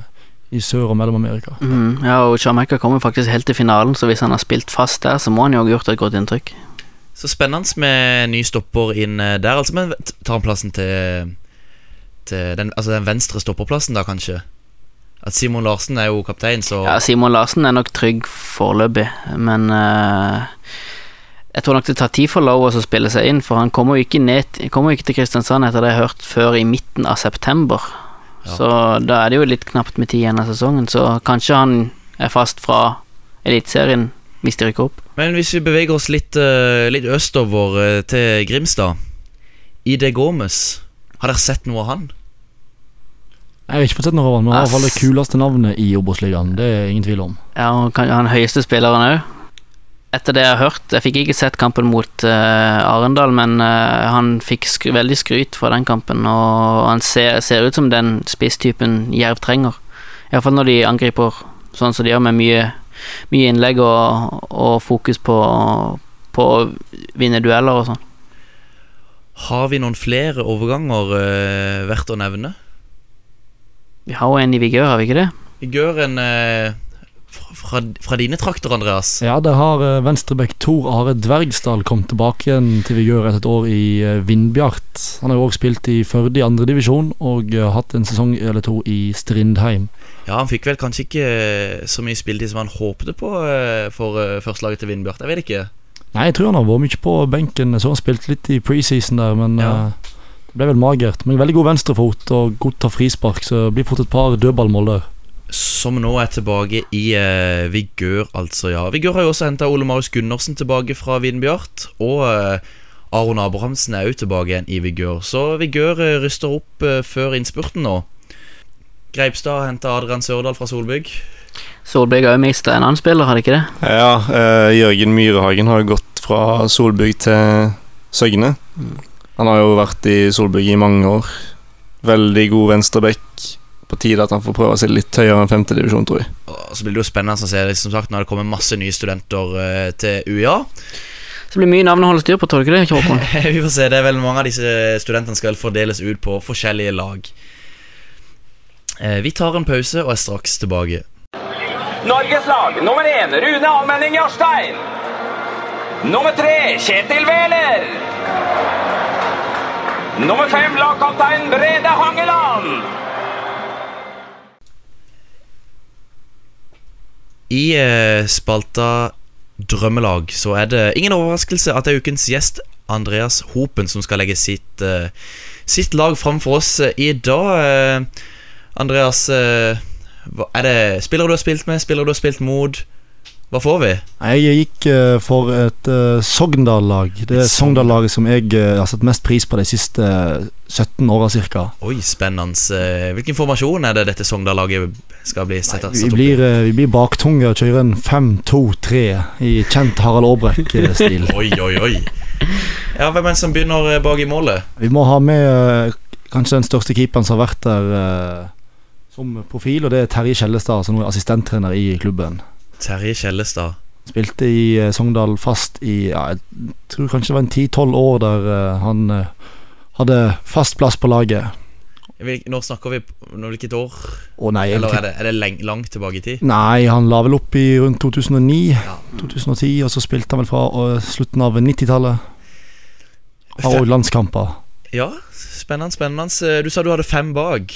Speaker 5: i Sør- og Mellom-Amerika.
Speaker 4: Mhm, ja, og Jamaica kommer faktisk helt til finalen, så hvis han har spilt fast der, så må han jo ha gjort et godt inntrykk.
Speaker 3: Så spennende med ny stopper inn eh, der, altså. Men vet- tar han plassen til, til den, altså den venstre stopperplassen, da, kanskje? At Simon Larsen er jo kaptein, så
Speaker 4: Ja, Simon Larsen er nok trygg foreløpig, men eh, jeg tror nok det tar tid for Lowers å spille seg inn, for han kommer jo ikke, ned, kommer jo ikke til Kristiansand etter det jeg har hørt før i midten av september.
Speaker 3: Ja.
Speaker 4: Så da er det jo litt knapt med tid igjen av sesongen, så kanskje han er fast fra Eliteserien hvis de rykker opp.
Speaker 3: Men hvis vi beveger oss litt, eh, litt østover eh, til Grimstad ID Gomez, har dere sett noe av han?
Speaker 5: Jeg har ikke fått sett noe av han, men han har i hvert fall det
Speaker 4: Ass.
Speaker 5: kuleste navnet i Obos-ligaen. Det er ingen tvil om.
Speaker 4: Ja, og kan, han høyeste spilleren òg. Etter det jeg har hørt Jeg fikk ikke sett kampen mot eh, Arendal, men eh, han fikk skry, veldig skryt fra den kampen, og han ser, ser ut som den spisstypen Jerv trenger. Iallfall når de angriper sånn som de gjør, med mye, mye innlegg og, og fokus på, på å vinne dueller og sånn.
Speaker 3: Har vi noen flere overganger eh, verdt å nevne?
Speaker 4: Vi har jo en i vigør, har vi ikke det?
Speaker 3: Vi gjør en eh, fra, fra, fra dine trakter, Andreas.
Speaker 5: Ja, det har eh, venstrebekk Tor Are Dvergsdal kommet tilbake igjen til vigør etter et år i eh, Vindbjart. Han har jo òg spilt i Førde i andredivisjon og eh, hatt en sesong eller to i Strindheim.
Speaker 3: Ja, han fikk vel kanskje ikke så mye spilletid som han håpte på eh, for eh, førstelaget til eh, Vindbjart. Jeg vet ikke.
Speaker 5: Nei, jeg tror han har vært mye på benken. Jeg så han spilte litt i preseason der, men
Speaker 3: Ja.
Speaker 5: eh, det ble vel magert. Men veldig god venstrefot og god til å ta frispark, så det blir fort et par dødballmål der.
Speaker 3: Som nå er tilbake i eh, Vigør, altså, ja. Vigør har jo også henta Ole Marius Gundersen tilbake fra Vinbjart. Og eh, Aron Abrahamsen er jo tilbake igjen i Vigør. Så Vigør eh, ryster opp eh, før innspurten nå. Greipstad har henta Adrian Sørdal fra Solbygg.
Speaker 4: Solbjørg har jo mista en annen spiller, har de ikke det?
Speaker 7: Ja, eh, Jørgen Myrehagen har jo gått fra Solbygg til Søgne. Han har jo vært i Solbygg i mange år. Veldig god venstreback. På tide at han får prøve seg litt høyere enn femtedivisjon, tror jeg.
Speaker 3: Og så blir det jo spennende å se som sagt, når det kommer masse nye studenter eh, til UiA.
Speaker 4: Så det blir mye navn å holde styr på, tror du ikke det, Håkon?
Speaker 3: Vi får se, det er vel mange av disse studentene skal fordeles ut på forskjellige lag. Eh, Vi tar en pause og er straks tilbake.
Speaker 2: Norges lag nummer én Rune Almenning Jarstein. Nummer tre Kjetil Wæler. Nummer fem lagkaptein Brede Hangeland.
Speaker 3: I eh, spalta Drømmelag så er det ingen overraskelse at det er ukens gjest Andreas Hopen som skal legge sitt, eh, sitt lag fram for oss eh, i dag. Eh, Andreas, eh, hva- er det spillere du har spilt med, spillere du har spilt mot? Hva får vi?
Speaker 5: Nei, Jeg gikk eh, for et eh, Sogndal-lag. Det er Sogndal-laget som jeg eh, har satt mest pris på de siste 17 åra ca.
Speaker 3: Oi, spennende. Eh, Hvilken formasjon er det dette Sogndal-laget skal bli satt, satt
Speaker 5: Vi
Speaker 3: opp i?
Speaker 5: blir, eh, vi blir baktunge og kjører en 5-2-3 i kjent Harald Aabrekk-stil.
Speaker 3: Oi, oi, oi. Ja, Hvem er det som begynner eh, bak i målet?
Speaker 5: Vi må ha med eh, kanskje den største keeperen som har vært der eh, som profil, og det er Terje Kjellestad, som nå er assistenttrener i klubben.
Speaker 3: Terje Kjellestad.
Speaker 5: Spilte i eh, Sogndal fast i ja, jeg tror kanskje det var en 10-12 år der eh, han eh, hadde fast plass på laget.
Speaker 3: Hvil- Når snakker vi Når Hvilket år?
Speaker 5: Å nei,
Speaker 3: Eller
Speaker 5: egentlig
Speaker 3: er det, er det leng, langt tilbake i tid?
Speaker 5: Nei, han la vel opp i rundt 2009. 2010, og så spilte han vel fra eh, slutten av 90-tallet. Har òg landskamper.
Speaker 3: Ja, spennende, spennende. Eh, Du sa du hadde fem bak.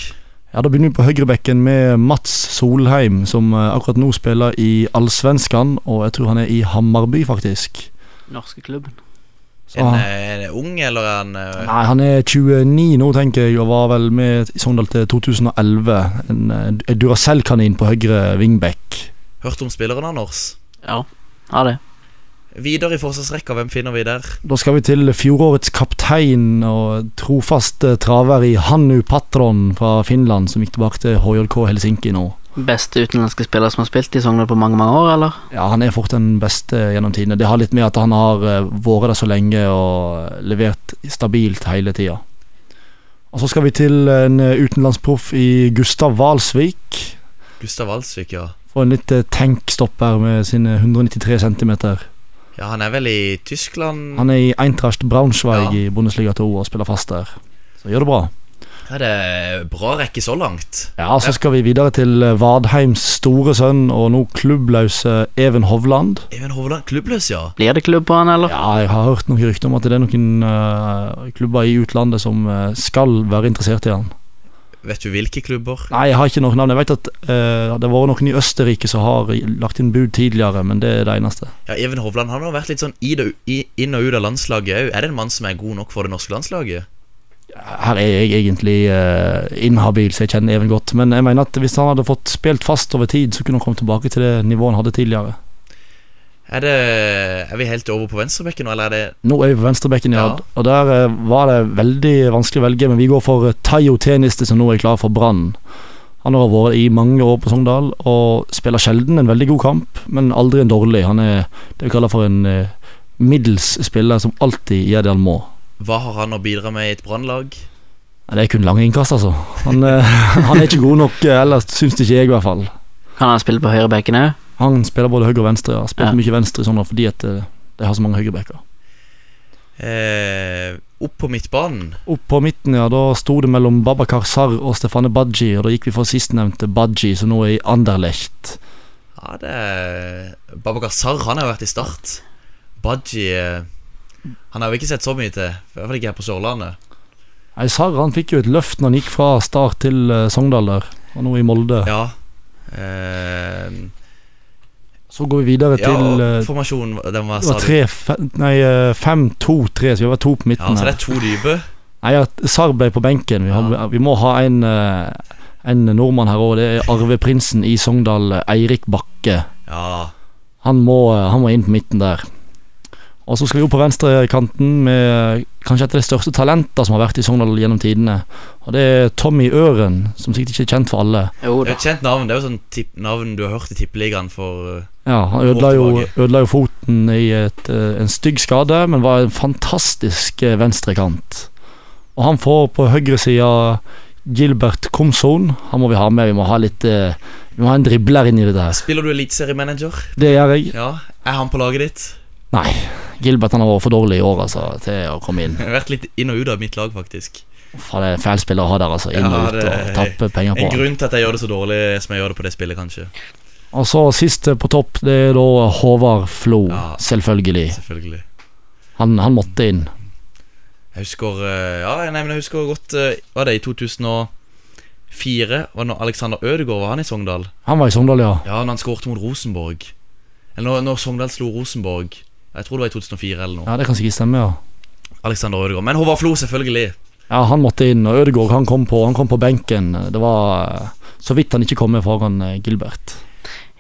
Speaker 5: Ja, Da begynner vi på høyrebekken med Mats Solheim, som eh, akkurat nå spiller i Allsvenskan, og jeg tror han er i Hammarby, faktisk.
Speaker 4: Norske klubben.
Speaker 5: Så,
Speaker 3: En,
Speaker 5: han-
Speaker 3: eh, en ung, eller en eh,
Speaker 5: nei, Han er 29 nå, tenker jeg, og var vel med i Sogndal til 2011. En, eh, en Duracell-kanin på høyre wingback.
Speaker 3: Hørt om spilleren, Anders?
Speaker 4: Ja, har det.
Speaker 3: Videre i forsvarsrekka, hvem finner vi der?
Speaker 5: Da skal vi til fjorårets kaptein og trofaste traver i Hannu Patron fra Finland, som gikk tilbake til HJK Helsinki nå.
Speaker 4: Beste utenlandske spiller som har spilt i Sogndal på mange, mange år, eller?
Speaker 5: Ja, Han er fort den beste gjennom tidene. Det har litt med at han har eh, vært der så lenge og levert stabilt hele tida. Og så skal vi til en eh, utenlandsproff i Gustav Valsvik.
Speaker 3: Gustav Alsvik, ja.
Speaker 5: Får en litt eh, tankstopp her med sine 193 cm.
Speaker 3: Ja, Han er vel i Tyskland?
Speaker 5: Han er i Eintracht Braunschweig
Speaker 3: Ja.
Speaker 5: i Bundesliga 2 og spiller fast der. Så gjør det bra.
Speaker 3: Ja, det er bra rekke så langt.
Speaker 5: Ja, så skal vi videre til eh, Vadheims store sønn og nå klubbløse Even Hovland.
Speaker 3: Even Hovland, klubbløs, ja.
Speaker 4: Blir det klubb på han, eller?
Speaker 5: Ja, jeg har hørt noen rykter om at det er noen eh, klubber i utlandet som eh, skal være interessert i han.
Speaker 3: Vet du hvilke klubber?
Speaker 5: Nei, jeg har ikke noen navn. Jeg vet at eh, det har vært noen i Østerrike som har lagt inn bud tidligere, men det er det eneste.
Speaker 3: Ja, Even Hovland han har vært litt sånn i det, i, inn og ut av landslaget òg. Er det en mann som er god nok for det norske landslaget?
Speaker 5: Her er jeg egentlig eh, inhabil, så jeg kjenner Even godt. Men jeg mener at hvis han hadde fått spilt fast over tid, så kunne han komme tilbake til det nivået han hadde tidligere.
Speaker 3: Er, det, er vi helt over på venstrebekken nå, eller er det
Speaker 5: Nå er vi på venstrebekken, ja.
Speaker 3: Ja.
Speaker 5: Og der eh, var det veldig vanskelig å velge, men vi går for eh, Tayo Teniste, som nå er klar for Brann. Han har vært i mange år på Sogndal og spiller sjelden en veldig god kamp, men aldri en dårlig. Han er det vi kaller for en eh, middels spiller som alltid gjør det han må.
Speaker 3: Hva har han å bidra med i et brannlag?
Speaker 5: Nei, Det er kun lange innkast, altså. Han, eh, han er ikke god nok eh, ellers, syns det ikke jeg, i hvert fall.
Speaker 4: Kan han spille på høyrebekken òg?
Speaker 5: Han spiller både høyre og venstre, og har spilt
Speaker 4: Ja.
Speaker 5: mye venstre i Sogndal fordi at eh, de har så mange høyrebacker.
Speaker 3: Eh, opp på midtbanen.
Speaker 5: Opp på midten, ja, da sto det mellom Babakar Sar og Stefane Badji, og da gikk vi for sistnevnte Badji, som nå er i Anderlecht.
Speaker 3: Ja, det er Babakar Sarr, han har jo vært i Start. Baji eh, Han har vi ikke sett så mye til. I hvert fall ikke her på Sørlandet.
Speaker 5: Nei, Sar han fikk jo et løft når han gikk fra Start til eh, Sogndal der, og nå i Molde.
Speaker 3: Ja. Eh,
Speaker 5: Så går vi videre
Speaker 3: Ja,
Speaker 5: til eh,
Speaker 3: og formasjonen den var,
Speaker 5: det var
Speaker 3: sa du.
Speaker 5: tre, fe, nei, eh, fem, to, tre, så vi var to på
Speaker 3: Ja,
Speaker 5: midten.
Speaker 3: så det
Speaker 5: her.
Speaker 3: er to dype.
Speaker 5: Nei, at Sarr ble på benken. Vi, har, vi må ha en, eh, en nordmann her òg. Det er arveprinsen i Sogndal, Eirik Bakke.
Speaker 3: Ja.
Speaker 5: Han må, han må inn på midten der. Og så skal vi opp på venstrekanten med kanskje et av de største talentene som har vært i Sogndal gjennom tidene. Og det er Tommy Øren, som sikkert ikke er kjent for alle.
Speaker 3: Det
Speaker 4: Jo
Speaker 3: er
Speaker 4: da.
Speaker 3: et kjent navn. Det er jo sånn tipp navn du har hørt i tippeligaen for eh,
Speaker 5: Ja, Han
Speaker 3: År
Speaker 5: ødela jo,
Speaker 3: tilbake.
Speaker 5: ødela jo foten i et, eh, en stygg skade, men var en fantastisk eh, venstrekant. Og han får på høyresida Gilbert Komson. Han må vi ha med. Vi må ha litt eh, Vi må ha en dribler inn i det der.
Speaker 3: Spiller du eliteseriemanager?
Speaker 5: Det gjør jeg.
Speaker 3: Ja. Er han på laget ditt?
Speaker 5: Nei, Gilbert han har vært for dårlig i år altså, til å komme inn.
Speaker 3: Jeg har vært litt inn og ut av mitt lag, faktisk.
Speaker 5: Faen, det er en fæl spiller å ha der, altså. Inn
Speaker 3: Ja,
Speaker 5: og ut
Speaker 3: det-
Speaker 5: og tappe penger
Speaker 3: En
Speaker 5: på. han.
Speaker 3: grunn til at jeg gjør det så dårlig som jeg gjør det på det spillet, kanskje.
Speaker 5: Og så sist på topp, det er da Håvard Flo,
Speaker 3: Ja.
Speaker 5: selvfølgelig.
Speaker 3: Selvfølgelig.
Speaker 5: Han, han måtte inn.
Speaker 3: Jeg husker eh, Ja, nei, men jeg husker godt eh, Var det i 2004? Var det når Alexander Ødegaard var han i Sogndal?
Speaker 5: Han var i Sogndal, ja.
Speaker 3: Ja, når han skårte mot Rosenborg. Eller når, når Sogndal slo Rosenborg. Jeg tror det var i 2004 eller noe.
Speaker 5: Ja, Det kan sikkert stemme, ja.
Speaker 3: Alexander Ødegaard. Men Håvard Flo, selvfølgelig.
Speaker 5: Ja, Han måtte inn, og Ødegaard han kom på, han kom på benken. Det var eh, så vidt han ikke kom med foran eh, Gilbert.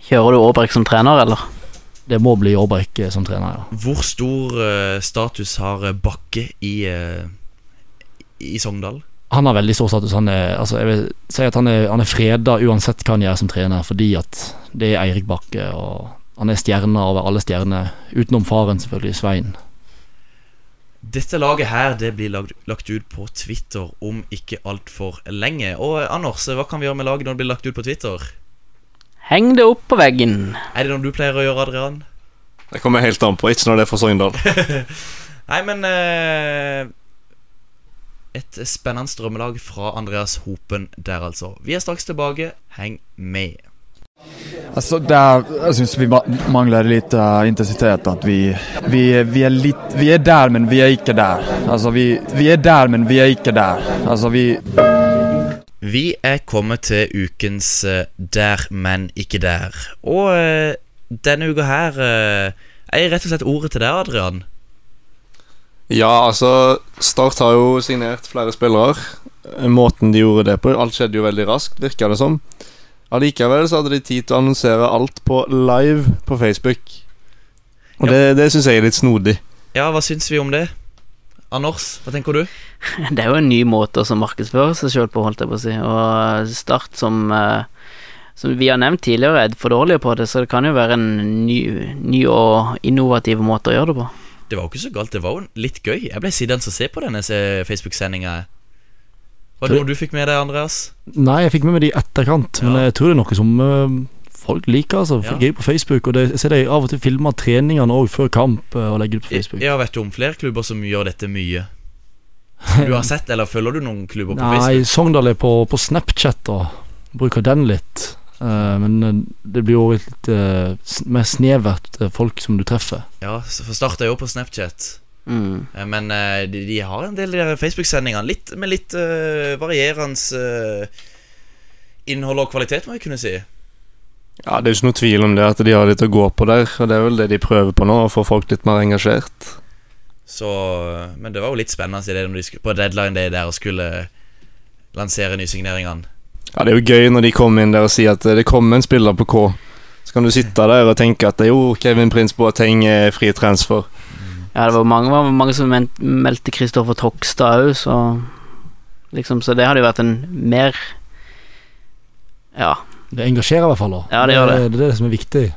Speaker 4: Kjører du Aabrek som trener, eller?
Speaker 5: Det må bli Aabrik eh, som trener, ja.
Speaker 3: Hvor stor eh, status har eh, Bakke i eh, I Sogndal?
Speaker 5: Han har veldig stor status. Han er, altså, jeg vil si at han er, han er freda uansett hva han gjør som trener, fordi at det er Eirik Bakke, og han er stjerna over alle stjerner. Utenom faren, selvfølgelig, Svein.
Speaker 3: Dette laget her det blir lagd, lagt ut på Twitter om ikke altfor lenge. Og eh, Anders, eh, hva kan vi gjøre med laget når det blir lagt ut på Twitter?
Speaker 4: Heng det opp på veggen.
Speaker 3: Er det noe du pleier å gjøre, Adrian?
Speaker 7: Det kommer jeg helt an på. Ikke når det er fra Sogndal.
Speaker 3: Nei, men eh, Et spennende drømmelag fra Andreas Hopen der, altså. Vi er straks tilbake. Heng med.
Speaker 10: Altså, det er, jeg syns vi ma- mangler litt eh, intensitet. At vi, vi, vi er litt Vi er der, men vi er ikke der. Altså, vi, vi er der, men vi er ikke der. Altså, vi,
Speaker 3: Vi er kommet til ukens eh, Der, men ikke der. Og eh, denne uka her eh, er jeg rett og slett ordet til deg, Adrian.
Speaker 7: Ja, altså Start har jo signert flere spillere. Måten de gjorde det på Alt skjedde jo veldig raskt, virka det som. Allikevel så hadde de tid til å annonsere alt på live på Facebook. Og
Speaker 3: Ja.
Speaker 7: det, det syns jeg er litt snodig.
Speaker 3: Ja, hva syns vi om det? Anders, hva tenker du?
Speaker 4: Det er jo en ny måte å markedsføre seg sjøl på, holdt jeg på å si. Og Start, som, eh, som vi har nevnt tidligere, er for dårlige på det, så det kan jo være en ny, ny og innovativ måte å gjøre det på.
Speaker 3: Det var jo ikke så galt. Det var jo litt gøy. Jeg ble sittende og se på denne se- Facebook-sendinga. Var det noe du fikk med deg, Andreas?
Speaker 5: Nei, jeg fikk med meg det i etterkant, men
Speaker 3: Ja.
Speaker 5: jeg tror det er noe som eh, folk liker. altså Folk
Speaker 3: Ja.
Speaker 5: er på Facebook, og det, jeg ser de av og til filmer treningene òg før kamp eh, og legger ut på Facebook.
Speaker 3: Jeg har vært om flere klubber som gjør dette mye. Som Du har sett, eller følger du noen klubber på
Speaker 5: Nei,
Speaker 3: Facebook?
Speaker 5: Sogndal er på, på Snapchat og bruker den litt. Eh, men eh, det blir jo litt eh, s- mer snevert eh, folk som du treffer.
Speaker 3: Ja, så for Start er jo på Snapchat.
Speaker 4: Mm.
Speaker 3: Eh, Men eh, de, de har en del av de der Facebook-sendingene litt, med litt eh, varierende eh, innhold og kvalitet, må jeg kunne si.
Speaker 7: Ja, Det er jo ikke noe tvil om det at de har litt å gå på der, og det er vel det de prøver på nå. Å få folk litt mer engasjert.
Speaker 3: Så, eh, men det var jo litt spennende i det når de skulle, på deadline day der og skulle lansere nysigneringene.
Speaker 7: Ja, Det er jo gøy når de kommer inn der og sier at eh, det kommer en spiller på K. Så kan du sitte der og tenke at jo, Kevin Prince Boateng er fri transfer.
Speaker 4: Ja, det var mange, var mange som men- meldte Kristoffer Trogstad òg, så liksom, Så det hadde jo vært en mer Ja.
Speaker 5: Det engasjerer i hvert fall. da.
Speaker 4: Ja, det gjør det.
Speaker 5: det er det som er viktig.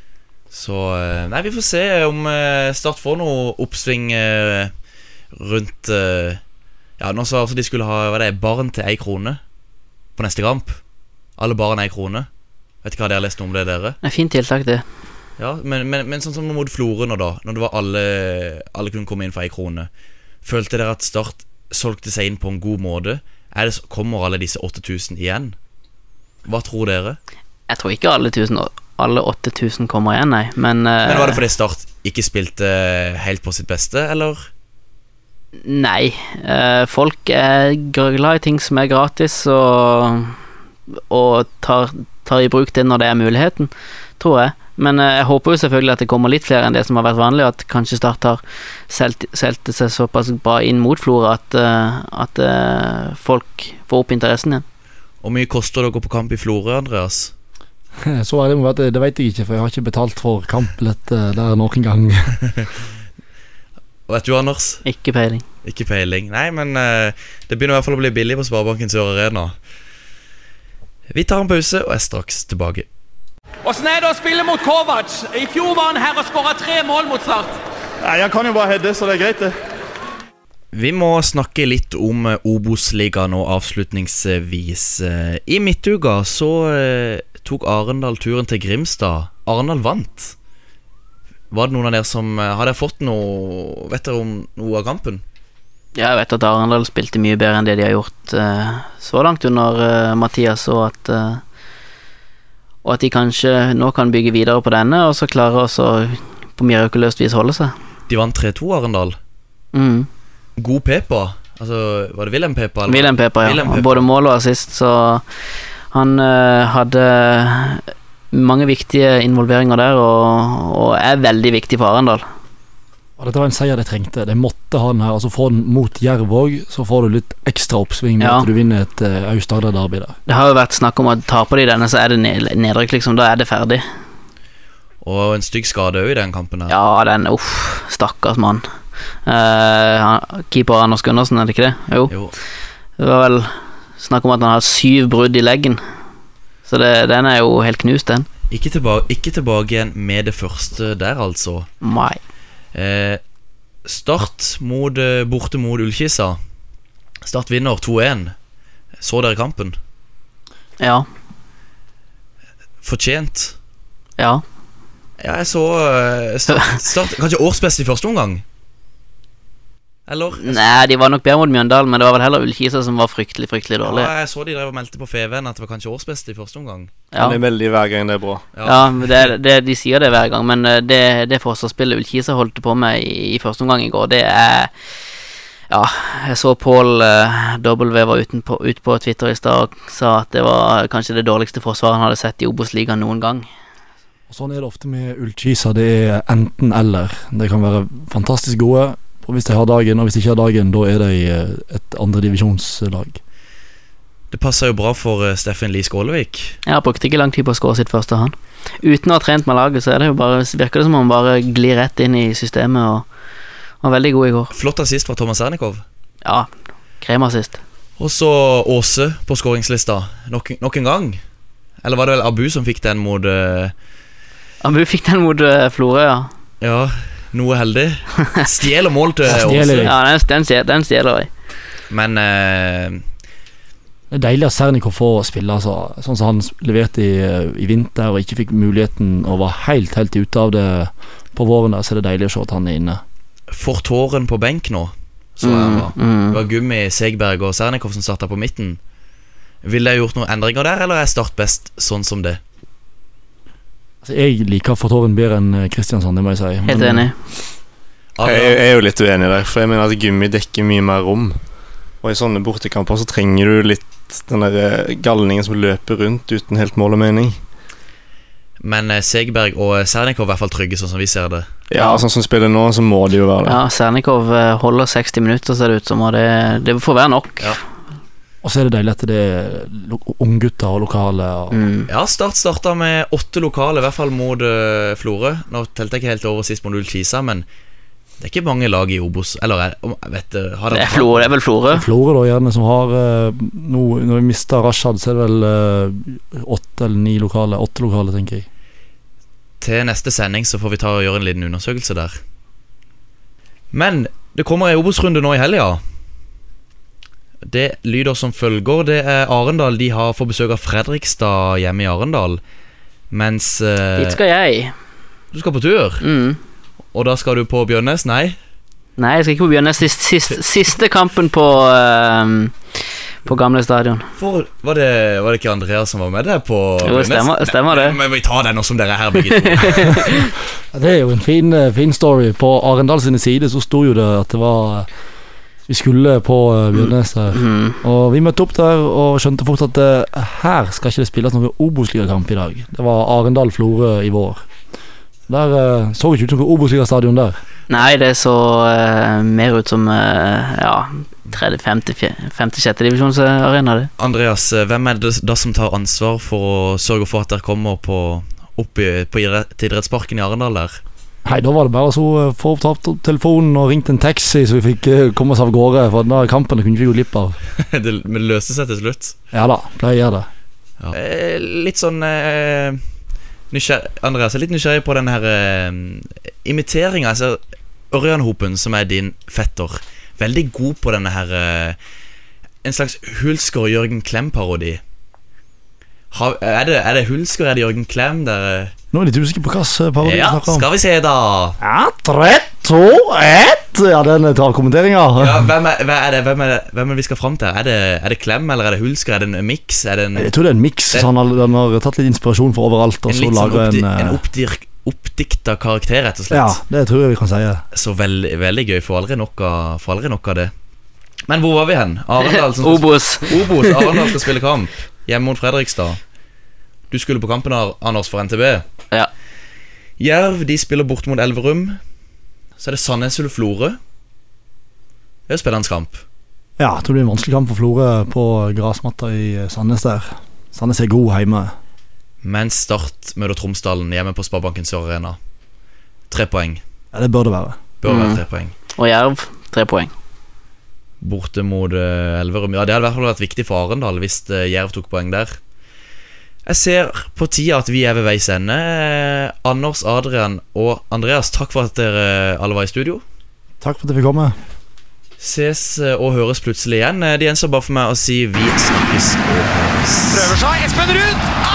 Speaker 3: Så eh, Nei, vi får se om eh, Start får noe oppsving eh, rundt eh, Ja, nå sa altså de skulle ha hva det er, barn til ei krone på neste kamp. Alle barn ei krone. Vet ikke hva dere har lest noe om det, dere?
Speaker 4: Det er fint tiltak, det.
Speaker 3: Ja, men, men, men sånn som mot Florø nå, da. Når det var alle Alle kunne komme inn for ei krone. Følte dere at Start solgte seg inn på en god måte? Er det, så- kommer alle disse 8000 igjen? Hva tror dere?
Speaker 4: Jeg tror ikke alle, 1000 og- alle 8000 kommer igjen, nei, men, eh,
Speaker 3: Men Var det fordi Start ikke spilte eh, helt på sitt beste, eller?
Speaker 4: Nei. eh, folk er gr- glad i ting som er gratis, og, og tar, tar i bruk det når det er muligheten, tror jeg. Men eh, jeg håper jo selvfølgelig at det kommer litt flere enn det som har vært vanlig, og at kanskje Start har solgt solgt seg såpass bra inn mot Flora at, eh, at eh, folk får opp interessen igjen.
Speaker 3: Hvor mye koster det å gå på kamp i Florø, Andreas?
Speaker 5: Så ærlig må jeg være at det vet jeg ikke, for jeg har ikke betalt for kampbillettet der noen gang.
Speaker 3: Vet du, Anders?
Speaker 4: Ikke peiling.
Speaker 3: Ikke peiling. Nei, men eh, det begynner i hvert fall å bli billig på Sparebanken Sør Arena. Vi tar en pause og er straks tilbake.
Speaker 2: Åssen er det å spille mot Kovac? I fjor var han her og skåra tre mål mot Start.
Speaker 3: Vi må snakke litt om eh, Obos-ligaen og avslutningsvis. Eh, I midtuka så eh, tok Arendal turen til Grimstad. Arendal vant. Var det noen av dere som eh, Har dere fått noe Vet dere om noe av kampen?
Speaker 4: Ja, jeg vet at Arendal spilte mye bedre enn det de har gjort eh, så langt under eh, Mathias, og at eh, Og at de kanskje nå kan bygge videre på denne, og så klarer oss å på mirakuløst vis holde seg.
Speaker 3: De vant 3-2, Arendal.
Speaker 4: Mm.
Speaker 3: God Pepa. Altså, var det Wilhelm Pepa? eller?
Speaker 4: Wilhelm Peper, ja.
Speaker 3: Wilhelm Peper.
Speaker 4: Både mål og assist, så han eh, hadde mange viktige involveringer der, og, og er veldig viktig for Arendal.
Speaker 5: Og dette var en seier de trengte. De måtte ha den her. Altså Få den mot Jerv òg, så får du litt ekstra oppsving med
Speaker 4: Ja.
Speaker 5: at du vinner et eh, Aust-Agder-derby der.
Speaker 4: Det har jo vært snakk om at taper de denne, så er det ned- nedrykk, liksom. Da er det ferdig.
Speaker 3: Og en stygg skade òg i den kampen. her.
Speaker 4: Ja, den Uff, stakkars mann. Eh, han- keeper Anders Gundersen, er det ikke det? Jo.
Speaker 3: Jo.
Speaker 4: Det var vel snakk om at han har syv brudd i leggen. Så det, den er jo helt knust, den.
Speaker 3: Ikke tilbake, ikke tilbake igjen med det første der, altså.
Speaker 4: Mai.
Speaker 3: Eh, start mot, eh, borte mot Ullkisa. Start vinner 2-1. Så dere kampen?
Speaker 4: Ja.
Speaker 3: Fortjent.
Speaker 4: Ja.
Speaker 3: Ja, jeg så eh, start, start Kanskje årsbest i første omgang? Eller?
Speaker 4: Nei, de var nok bedre mot Mjøndalen, men det var vel heller Ullkisa som var fryktelig, fryktelig dårlig.
Speaker 3: Ja, jeg så de drev og meldte på FVN at det var kanskje årsbest i første omgang.
Speaker 4: Ja,
Speaker 7: Han er veldig hver gang det er bra.
Speaker 4: ja men det, det, de sier det hver gang, men eh, det, det forsvarsspillet Ullkisa holdt på med i, i første omgang i går, det er Ja, jeg så Pål eh, W var ute på, ut på Twitter i stad og sa at det var kanskje det dårligste forsvaret han hadde sett i Obos-ligaen noen gang.
Speaker 5: Og Sånn er det ofte med Ullkisa. Det er enten-eller. De kan være fantastisk gode og hvis de har dagen, og hvis de ikke har dagen, da er de eh, et andredivisjonslag.
Speaker 3: Det passer jo bra for eh, Steffen Lie Skålevik.
Speaker 4: Ja, brukte ikke lang tid på å skåre sitt første, han. Uten å ha trent med laget, så er det jo bare, virker det som om han bare glir rett inn i systemet og var veldig god i går.
Speaker 3: Flott assist fra Thomas Ernikov.
Speaker 4: Ja, krema sist.
Speaker 3: Og så Åse på skåringslista. Nok, nok en gang. Eller var det vel Abu som fikk den mot eh,
Speaker 4: Ja, men du fikk den mot eh, Florø, ja.
Speaker 3: Ja, noe heldig. Stjeler mål til
Speaker 5: Stjeler.
Speaker 3: Åse.
Speaker 4: Ja, den, den, stjeler, den stjeler jeg.
Speaker 3: Men eh,
Speaker 5: Det er deilig at Sernikov får spille, altså. Sånn som han s- leverte i, eh, i vinter og ikke fikk muligheten og var helt, helt ute av det på våren, der, så er det deilig å se at han er inne.
Speaker 3: får tåren på benk nå. Så jeg
Speaker 4: Mm,
Speaker 3: da. Det
Speaker 4: mm.
Speaker 3: var Gummi, Segberg og Sernikov som starta på midten. Ville jeg gjort noen endringer der, eller er Start best sånn som det?
Speaker 5: Altså, jeg liker Fortoren bedre enn eh, Kristiansand, det må jeg si. Men-
Speaker 3: Mm.
Speaker 4: Helt enig.
Speaker 7: Jeg,
Speaker 3: Adrian,
Speaker 7: jeg er jo litt uenig der, for jeg mener at gummi dekker mye mer rom. Og i sånne bortekamper så trenger du litt den der eh, galningen som løper rundt uten helt mål og mening.
Speaker 3: Men eh, Segberg og Sernikov er i hvert fall trygge, sånn som vi ser det.
Speaker 7: Ja, sånn som spiller nå, så må det jo være det.
Speaker 4: Ja, Sernikov eh, holder 60 minutter, ser det ut som, og det, det får være nok.
Speaker 3: Ja.
Speaker 5: Og så er det deilig at det er lo- unggutter og lokale. Og
Speaker 4: Mm.
Speaker 3: Ja, Start starta med åtte lokale, i hvert fall mot eh, Florø. Nå telte jeg ikke helt over sist mot Ullkisa, men det er ikke mange lag i Obos Eller er- om- jeg vet eh, har
Speaker 4: Det, er Florø, det er vel Florø.
Speaker 5: Florø, da, gjerne, som har eh, nå, Når vi mista Rashad, så er det vel eh, åtte eller ni lokale. Åtte lokale, tenker jeg.
Speaker 3: Til neste sending så får vi ta og gjøre en liten undersøkelse der. Men det kommer ei Obos-runde nå i helga. Det lyder som følger. Det er Arendal. De har får besøk av Fredrikstad hjemme i Arendal. Mens eh,
Speaker 4: Dit skal jeg.
Speaker 3: Du skal på tur,
Speaker 4: Mm.
Speaker 3: og da skal du på Bjørnes? Nei?
Speaker 4: Nei, jeg skal ikke på Bjørnes. Sist, sist, siste kampen på eh, På gamle stadion.
Speaker 3: For, var, det, var det ikke Andreas som var med deg på
Speaker 4: Jo,
Speaker 3: Bjørnes?
Speaker 4: stemmer- stemmer det.
Speaker 3: Nei, Men vi tar den nå som dere er her, begge to.
Speaker 5: Ja, Det er jo en fin, eh, fin story. På Arendal sine sider så sto jo det at det var eh, Vi skulle på eh, Bjørnes her.
Speaker 4: Mm.
Speaker 5: Og vi møtte opp der og skjønte fort at eh, her skal ikke det spilles noen Obos-ligakamp i dag. Det var Arendal-Florø i vår. Der eh, så ikke ut som Obos-ligastadion der.
Speaker 4: Nei, det så eh, mer ut som eh, ja, tredje, femte, fje- femte, sjette divisjonsarena, det.
Speaker 3: Andreas, eh, hvem er det da som tar ansvar for å sørge for at dere kommer på, opp i, på idrett, til idrettsparken i Arendal der?
Speaker 5: Nei, da var det bare å så, eh, få opp ta- telefonen og ringt en taxi, så vi fikk eh, komme oss av gårde. For den der kampen kunne vi ikke gå glipp av.
Speaker 3: det men det løste seg til slutt.
Speaker 5: Ja da, pleier jeg det.
Speaker 3: Eh, litt sånn eh, nysgjer Andreas, jeg er litt nysgjerrig på den her eh, imiteringa. Altså, Ørjan Hopen, som er din fetter, veldig god på denne her eh, En slags Hulsker-Jørgen Klem-parodi. Har- Er det, er det Hulsker, er det Jørgen Klem? Der,
Speaker 5: Nå er jeg litt usikker på hva slags parodi vi
Speaker 3: ja,
Speaker 5: snakker om.
Speaker 3: skal vi se, da.
Speaker 5: Ja, tre, to, ett! Ja, den eh, tar kommenteringa.
Speaker 3: Ja, hvem, er, hva er det, hvem, er det, hvem er det vi skal fram til? Er det, er det Klem, eller er det Hulsker? Er det en miks? Er det en,
Speaker 5: Jeg tror det er en miks.
Speaker 3: Det-
Speaker 5: så Han har, den har tatt litt inspirasjon fra overalt. Og
Speaker 3: en
Speaker 5: så
Speaker 3: litt sånn
Speaker 5: lager
Speaker 3: oppdi
Speaker 5: en,
Speaker 3: en
Speaker 5: eh,
Speaker 3: oppdirk, oppdikta karakter, rett og slett?
Speaker 5: Ja, det tror jeg vi kan si.
Speaker 3: Så veldig, veldig gøy. Får aldri, nok av, får aldri nok av det. Men hvor var vi hen? Arendal som skal,
Speaker 4: Obos.
Speaker 3: Obos, Arendal skal spille kamp. Hjemme mot Fredrikstad. Du skulle på kampen, Ar- Anders, for NTB.
Speaker 4: Ja.
Speaker 3: Jerv de spiller bort mot Elverum. Så er det Sandnes Ulf Florø. Det er jo spennende kamp.
Speaker 5: Ja, jeg tror det blir en vanskelig kamp for Florø på gressmatta i eh, Sandnes der. Sandnes er god hjemme.
Speaker 3: Mens Start møter Tromsdalen hjemme på Sparebanken Sør Arena. Tre poeng.
Speaker 5: Ja, Det bør det være.
Speaker 3: Bør
Speaker 4: Mm.
Speaker 3: være tre poeng.
Speaker 4: Og Jerv, tre poeng.
Speaker 3: borte mot eh, Elverum. Ja, Det hadde i hvert fall vært viktig for Arendal hvis eh, Jerv tok poeng der. Jeg ser på tida at vi er ved veis ende. Eh, Anders, Adrian og Andreas, takk for at dere eh, alle var i studio.
Speaker 5: Takk for at jeg fikk komme.
Speaker 3: Ses eh, og høres plutselig igjen. Eh, Det gjenstår bare for meg å si vi snakkes og høres.
Speaker 2: Prøver seg. Espen Ruud